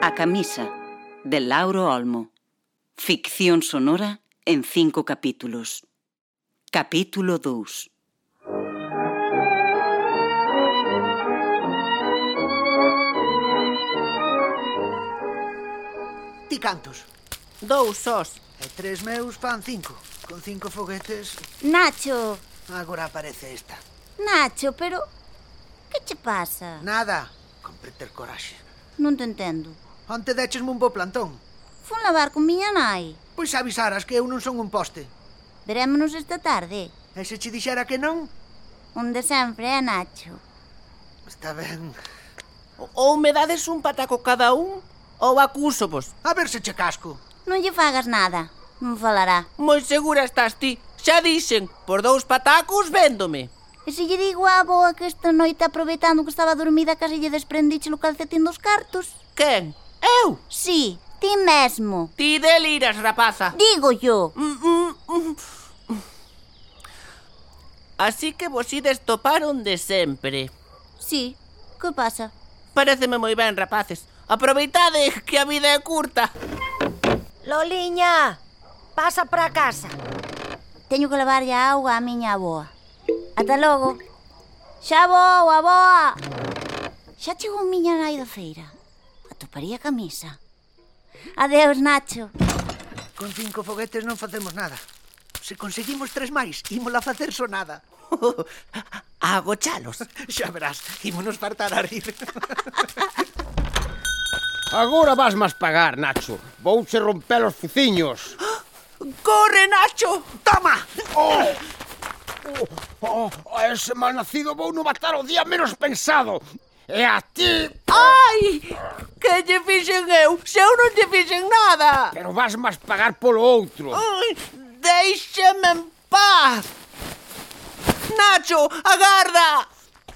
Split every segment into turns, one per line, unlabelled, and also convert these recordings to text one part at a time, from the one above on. La camisa de Lauro Olmo. Ficción sonora en cinco capítulos. Capítulo 2.
Ti cantos?
Dous sós.
E tres meus fan cinco. Con cinco foguetes,
Nacho,
agora aparece esta.
Nacho, pero que che pasa?
Nada. Compre ter coraxe.
Non te entendo.
Onte dechesme un bo plantón.
Fun lavar con miña nai.
Pois avisaras que eu non son un poste.
Verémonos esta tarde.
E se che dixera que non,
Onde sempre é Nacho.
está ben.
Ou me dades un pataco cada un, ou acúsovos.
A ver se che casco.
Non lle fagas nada. Non falará.
Moi segura estás ti. Xa dixen, por dous patacos véndome.
E se lle digo á boa que esta noite aproveitando que estaba dormida case lle desprendiche o calcetín dos cartos?
Quen? Eu?
Sí, ti mesmo.
Ti deliras, rapaza.
Digo yo.
Mm, mm, mm. Así que vos ides topar onde sempre.
Sí, que pasa?
Pareceme moi ben, rapaces. Aproveitade que a vida é curta.
Loliña, pasa para casa.
Teño que levarlle a auga á miña aboa. Ata logo. Xa vou, aboa. Xa chegou miña nai da feira. Atoparía a camisa. Adeus, Nacho.
Con cinco foguetes non facemos nada. Se conseguimos tres máis, ímola facer sonada.
Agochalos.
Xa verás, ímonos fartar a rir.
Agora vas más pagar, Nacho. Vouche romper os fuciños.
Corre, Nacho.
Toma!
Oh, a ese malnacido vou no matar o día menos pensado. E a ti,
Ai, que lle fixen eu? Se eu non lle fixen nada.
pero vas más pagar polo outro.
Oh,
Ai, Deixeme en paz. Nacho, agarda.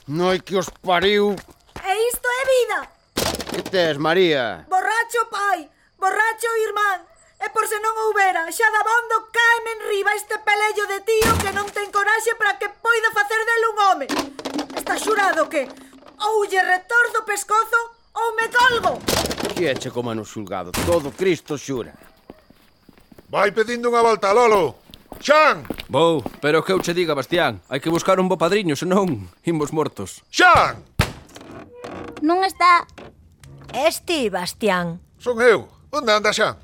Noi que os pariu.
E isto é vida.
Que tes, María?
Borracho pai, borracho irmán. E por se non houbera, xa dabondo caeme en riba este pelello de tío que non ten coraxe para que poida facer del un home. Está xurado que ou lle retordo o pescozo ou me colgo.
Que eche como no xulgado. Todo Cristo xura.
Vai pedindo unha volta, Lolo. Xan,
Vou, pero que eu che diga, Bastián Hai que buscar un bo padriño, senón imos mortos
Xan,
Non está.
Este, Bastián,
son eu. Onde anda Xan?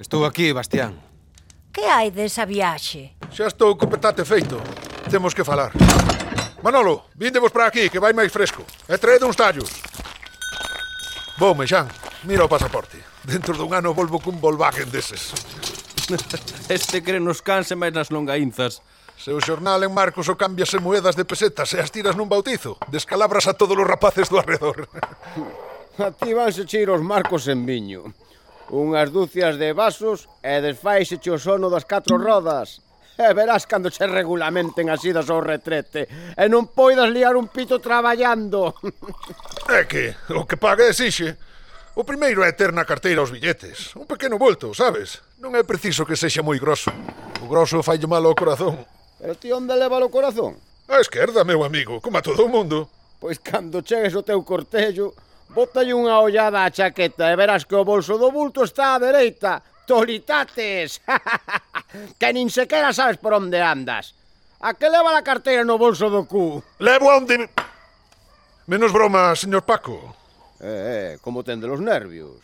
Estou aquí, Bastián.
que hai desa viaxe?
Xa estou co petate feito. Temos que falar. Manolo, víndevos para aquí, que vai máis fresco. E traed uns tallos. Voume, Xan. Mira o pasaporte. Dentro dun ano volvo cun Volkswagen deses.
Este cre nos canse máis nas longaínzas
Se o xornal en Marcos o cambias en moedas de pesetas e as tiras nun bautizo, descalabras a todos os rapaces do arredor.
A ti vanse cheir os marcos en viño. Unhas dúcias de vasos e desfaixe o sono das catro rodas. E verás cando se regulamenten as idas ao retrete e non poidas liar un pito traballando.
É que o que paga exixe. O primeiro é ter na carteira os billetes. Un pequeno volto, sabes? Non é preciso que sexa moi grosso. O grosso falle mal ao corazón.
Pero ti onde leva o corazón?
A esquerda, meu amigo, como a todo o mundo.
Pois cando chegues ao teu cortello, botalle unha ollada á chaqueta e verás que o bolso do bulto está á dereita. Tolitates! que nin sequera sabes por onde andas. A que leva a carteira no bolso do cu?
Levo a onde... me- Menos broma, señor Paco.
Eh, eh, como tende os nervios.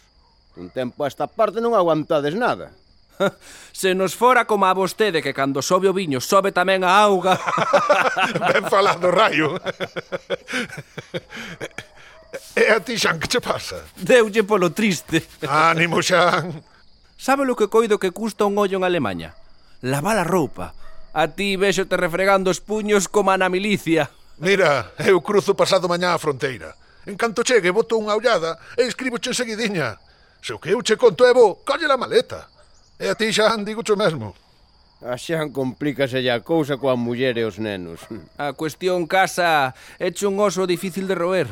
Un tempo a esta parte non aguantades nada.
Se nos fora como a vostede que cando sobe o viño sobe tamén a auga
Ben falado, raio. E a ti, Xan, que che pasa?
Deulle polo triste
Ánimo, Xan.
Sabe lo que coido que custa un ollo en Alemaña? Lavar a roupa A ti vexote refregando os puños como na milicia
Mira, eu cruzo pasado mañá a fronteira. En canto chegue, boto unha ollada e escriboche enseguidiña. Se o que eu che conto é bo, colle a maleta. E a ti xa digo o mesmo.
A xan complícaselle a cousa coa muller e os nenos.
A cuestión casa eche un oso difícil de roer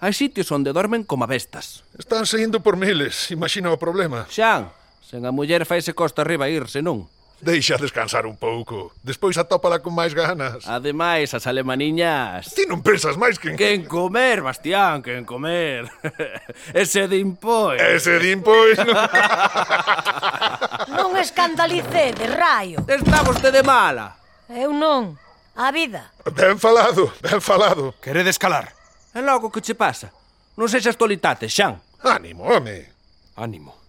Hai sitios onde dormen como a bestas
Están saindo por miles, imagina o problema.
Xan, sen a muller faise costa arriba ir, senón
Deixa descansar un pouco. Despois atópala con máis ganas.
Ah.
Ademais, as alemaniñas...
Ti non pensas máis que en...
Quen comer, Bastián, quen comer. Ese de impoi.
Ese din, pois, non...
Non escandalicedes, raio.
Está vostede mala.
Eu non. A vida.
Ben falado, ben falado.
Queredes calar.
E logo que che pasa? Non sexas tolitate, Xan.
Ánimo, home.
Ánimo.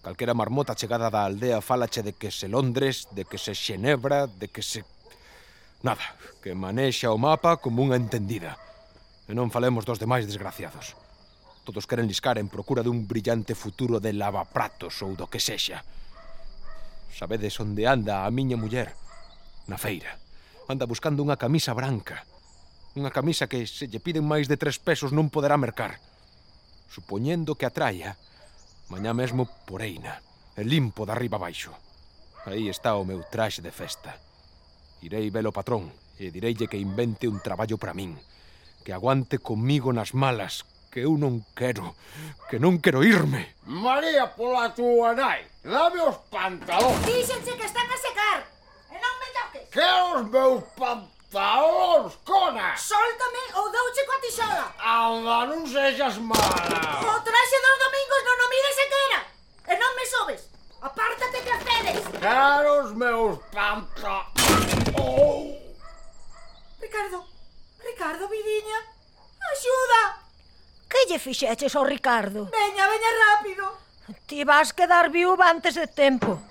Calquera marmota chegada da aldea falache de que se Londres, de que se Xenebra, de que se... Nada, que manexa o mapa como unha entendida. E non falemos dos demais desgraciados. Todos queren liscar en procura dun brillante futuro de lavapratos ou do que sexa. Sabedes onde anda a miña muller? Na feira. Anda buscando unha camisa branca. Unha camisa que se lle piden máis de tres pesos non poderá mercar. Supoñendo que atraia, mañá mesmo poreina, e limpo de arriba abaixo. Aí está o meu traxe de festa. Irei velo patrón e direille que invente un traballo para min, que aguante comigo nas malas, que eu non quero, que non quero irme.
María pola túa nai, dame os pantalóns.
Díxenche que están a secar. E non me toques.
Que os meus pantalóns, cona?
Sóltame ou douche coa tixola.
Anda, non sexas
O
mala.
traxe dos domingos non o mires sequera. E non me sobes. Apártate que cedes.
Quero os meus pantalóns. Oh.
Ricardo, Ricardo, vidiña. Axuda.
Que lle fixeches ao Ricardo?
Veña, veña rápido.
Ti vas quedar viúva antes de tempo.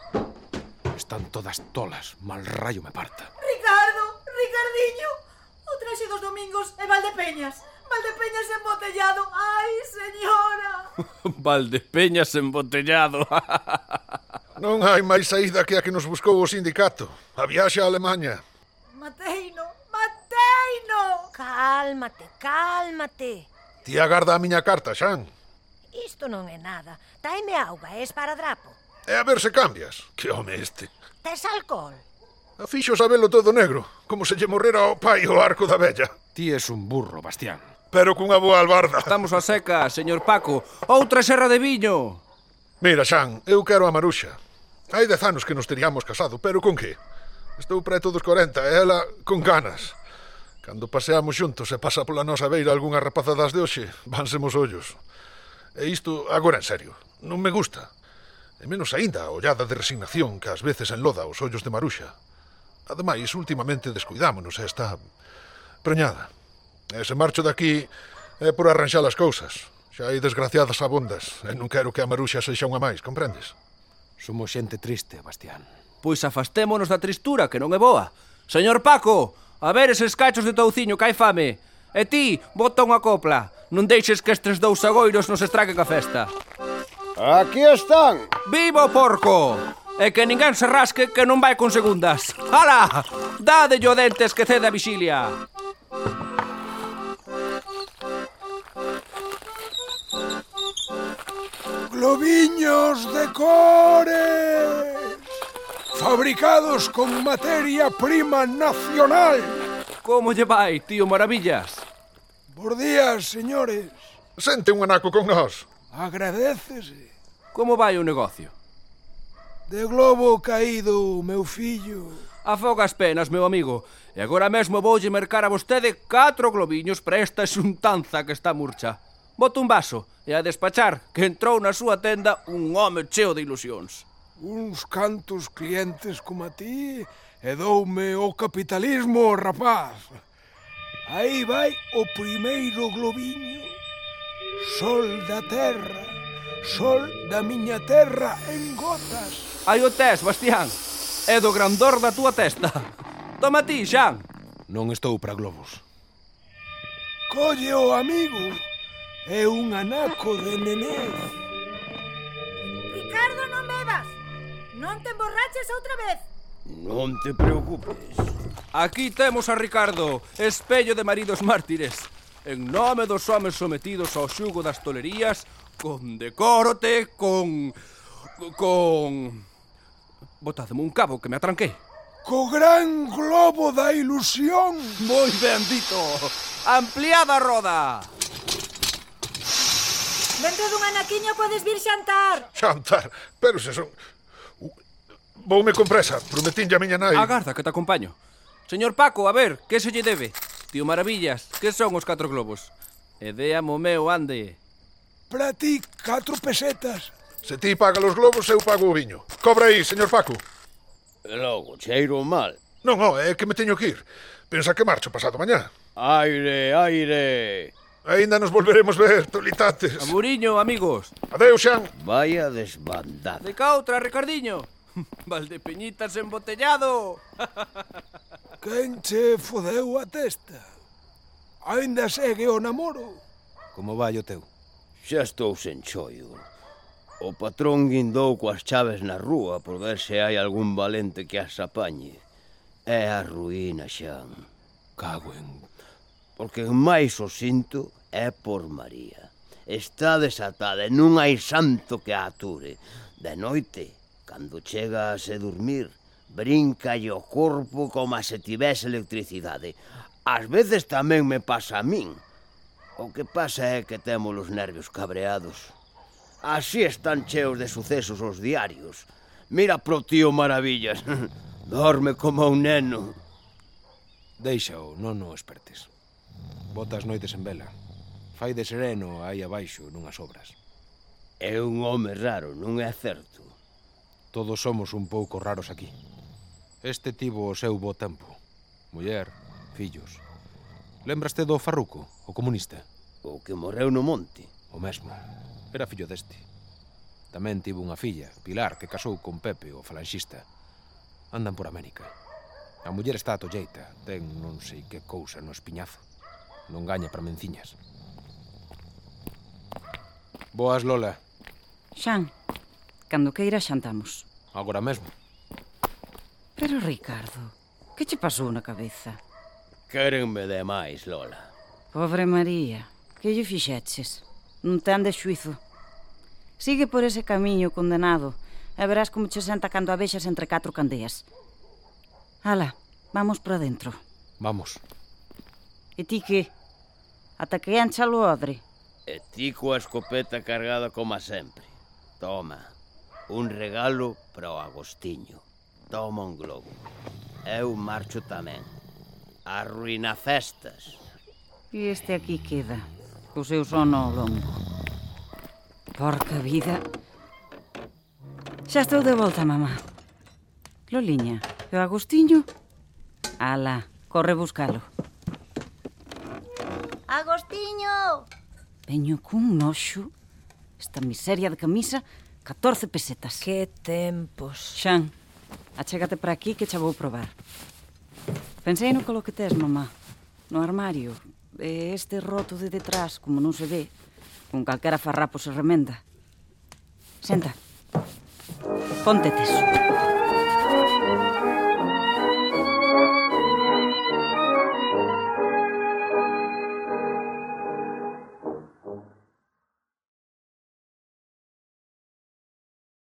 Están todas tolas, mal rayo me parta.
Ricardo, Ricardiño. O traxe dos domingos e Valdepeñas. Valdepeñas embotellado. Ai, señora.
Valdepeñas embotellado.
Non hai máis saída que a que nos buscou o sindicato. A viaxe a Alemanha.
Mateino, mateino.
Cálmate, cálmate.
Ti agarda a miña carta, Xan.
Isto non é nada. Taime auga, es para drapo.
E a ver se cambias. Que home este.
Tes alcohol?
A fixo sabelo todo negro, como se lle morrera ao pai o arco da vella.
Ti es un burro, Bastián.
Pero cunha boa albarda.
Estamos a seca, señor Paco. Outra serra de viño.
Mira, Xan, eu quero a Maruxa. Hai dez anos que nos teríamos casado, pero con que? Estou preto dos 40 e ela con ganas. Cando paseamos xuntos e pasa pola nosa beira algunha rapazadas de hoxe, vánsemos ollos. E isto, agora en serio, non me gusta. E menos aínda a ollada de resignación que ás veces enloda os ollos de Maruxa. Ademais, últimamente descuidámonos e está preñada. E se marcho daqui é por arranxar as cousas. Xa hai desgraciadas abondas e non quero que a Maruxa sexa unha máis, comprendes?
Somos xente triste, Bastián.
Pois afastémonos da tristura, que non é boa. Señor Paco, a ver eses cachos de touciño que hai fame. E ti, bota unha copla. Non deixes que estes dous agoiros nos estraguen a festa.
Aquí están.
Viva o porco! E que ninguén se rasque que non vai con segundas. Ala! Dade o dente esquecede a vixilia.
Globiños de cores fabricados con materia prima nacional.
Como lle vai, tío Maravillas?
Bos días, señores.
Sente un anaco con nós.
Agradécese.
Como vai o negocio?
De globo caído, meu fillo.
Afoga as penas, meu amigo. E agora mesmo voulle mercar a vostede catro globiños para esta xuntanza que está murcha. Bota un vaso e a despachar que entrou na súa tenda un home cheo de ilusións.
Uns cantos clientes como a ti e doume o capitalismo, rapaz. Aí vai o primeiro globiño. Sol da terra, sol da miña terra en gotas.
Aí o tes, Bastián. É do grandor da túa testa. Toma ti, Xan.
Non estou para globos. Colle o amigo. É un anaco de nenés.
Ricardo, non bebas. Non te emborraches outra vez.
Non te preocupes.
Aquí temos a Ricardo, espello de maridos mártires. En nome dos homes sometidos ao xugo das tolerías, con decórote, con... con... Botadme un cabo que me atranquei.
Co gran globo da ilusión.
Moi ben dito. Ampliada a roda.
Dentro dun anaquiño podes vir xantar.
Xantar, pero se son... Voume con presa, prometinlle a miña nai.
Agarda que te acompaño. Señor Paco, a ver, que se lle debe? Tío Maravillas, que son os catro globos? E déamo meu, ande.
Para ti, 4 pesetas.
Se ti paga os globos, eu pago o viño. Cobra aí, señor Paco.
E logo, cheiro mal.
Non, ó, é que me teño que ir. Pensa que marcho pasado mañá.
Aire, aire.
Aínda nos volveremos ver, tolitates.
Amuriño, amigos.
Adeus, Xan.
Vaya desbandada.
De ca outra, Ricardiño. Valdepeñitas embotellado.
Quen che fodeu a testa? Ainda segue o namoro.
Como vai o teu?
Xa estou sen choio. O patrón guindou coas chaves na rúa por ver se hai algún valente que as apañe. É a ruína, Xan.
Cago en...
Porque máis o sinto é por María. Está desatada e non hai santo que a ature. De noite, cando chega a se dormir, brinca o corpo como se tivese electricidade. Ás veces tamén me pasa a min. O que pasa é que temos os nervios cabreados. Así están cheos de sucesos os diarios. Mira pro tío Maravillas. Dorme como un neno.
Deixao, non o espertes. Botas noites en vela. Fai de sereno aí abaixo nunhas obras.
É un home raro, non é certo?
Todos somos un pouco raros aquí. Este tivo o seu bo tempo. Muller, fillos. Lembraste do Farruco, o comunista?
O que morreu no monte.
O mesmo. Era fillo deste. Tamén tivo unha filla, Pilar, que casou con Pepe, o falanxista. Andan por América. A muller está atolleita, ten non sei que cousa no espiñazo. Non gaña para menciñas. Boas, Lola.
Xan, cando queira xantamos.
Agora mesmo.
Pero, Ricardo, que che pasou na cabeza?
Quérenme demais, Lola.
Pobre María, que lle fixeches? Non ten de xuizo. Sigue por ese camiño condenado e verás como che senta cando a vexas entre catro candeas. Ala, vamos para dentro.
Vamos.
E ti que? Ata que ancha o odre.
E ti coa escopeta cargada como sempre. Toma, un regalo para o Agostiño. Toma un globo. Eu marcho tamén. Arruina festas.
E este aquí queda, co seu sono ao longo. Porca vida. Xa estou de volta, mamá. Loliña, e o Agostiño? Ala, corre buscalo.
Agostiño,
Veño cun noxo. Esta miseria de camisa, 14 pesetas.
Que tempos.
Xan, achégate para aquí que xa vou probar. Pensei no colo que tes, mamá. No armario. E este roto de detrás, como non se ve, con calquera farrapo se remenda. Senta. Ponte teso.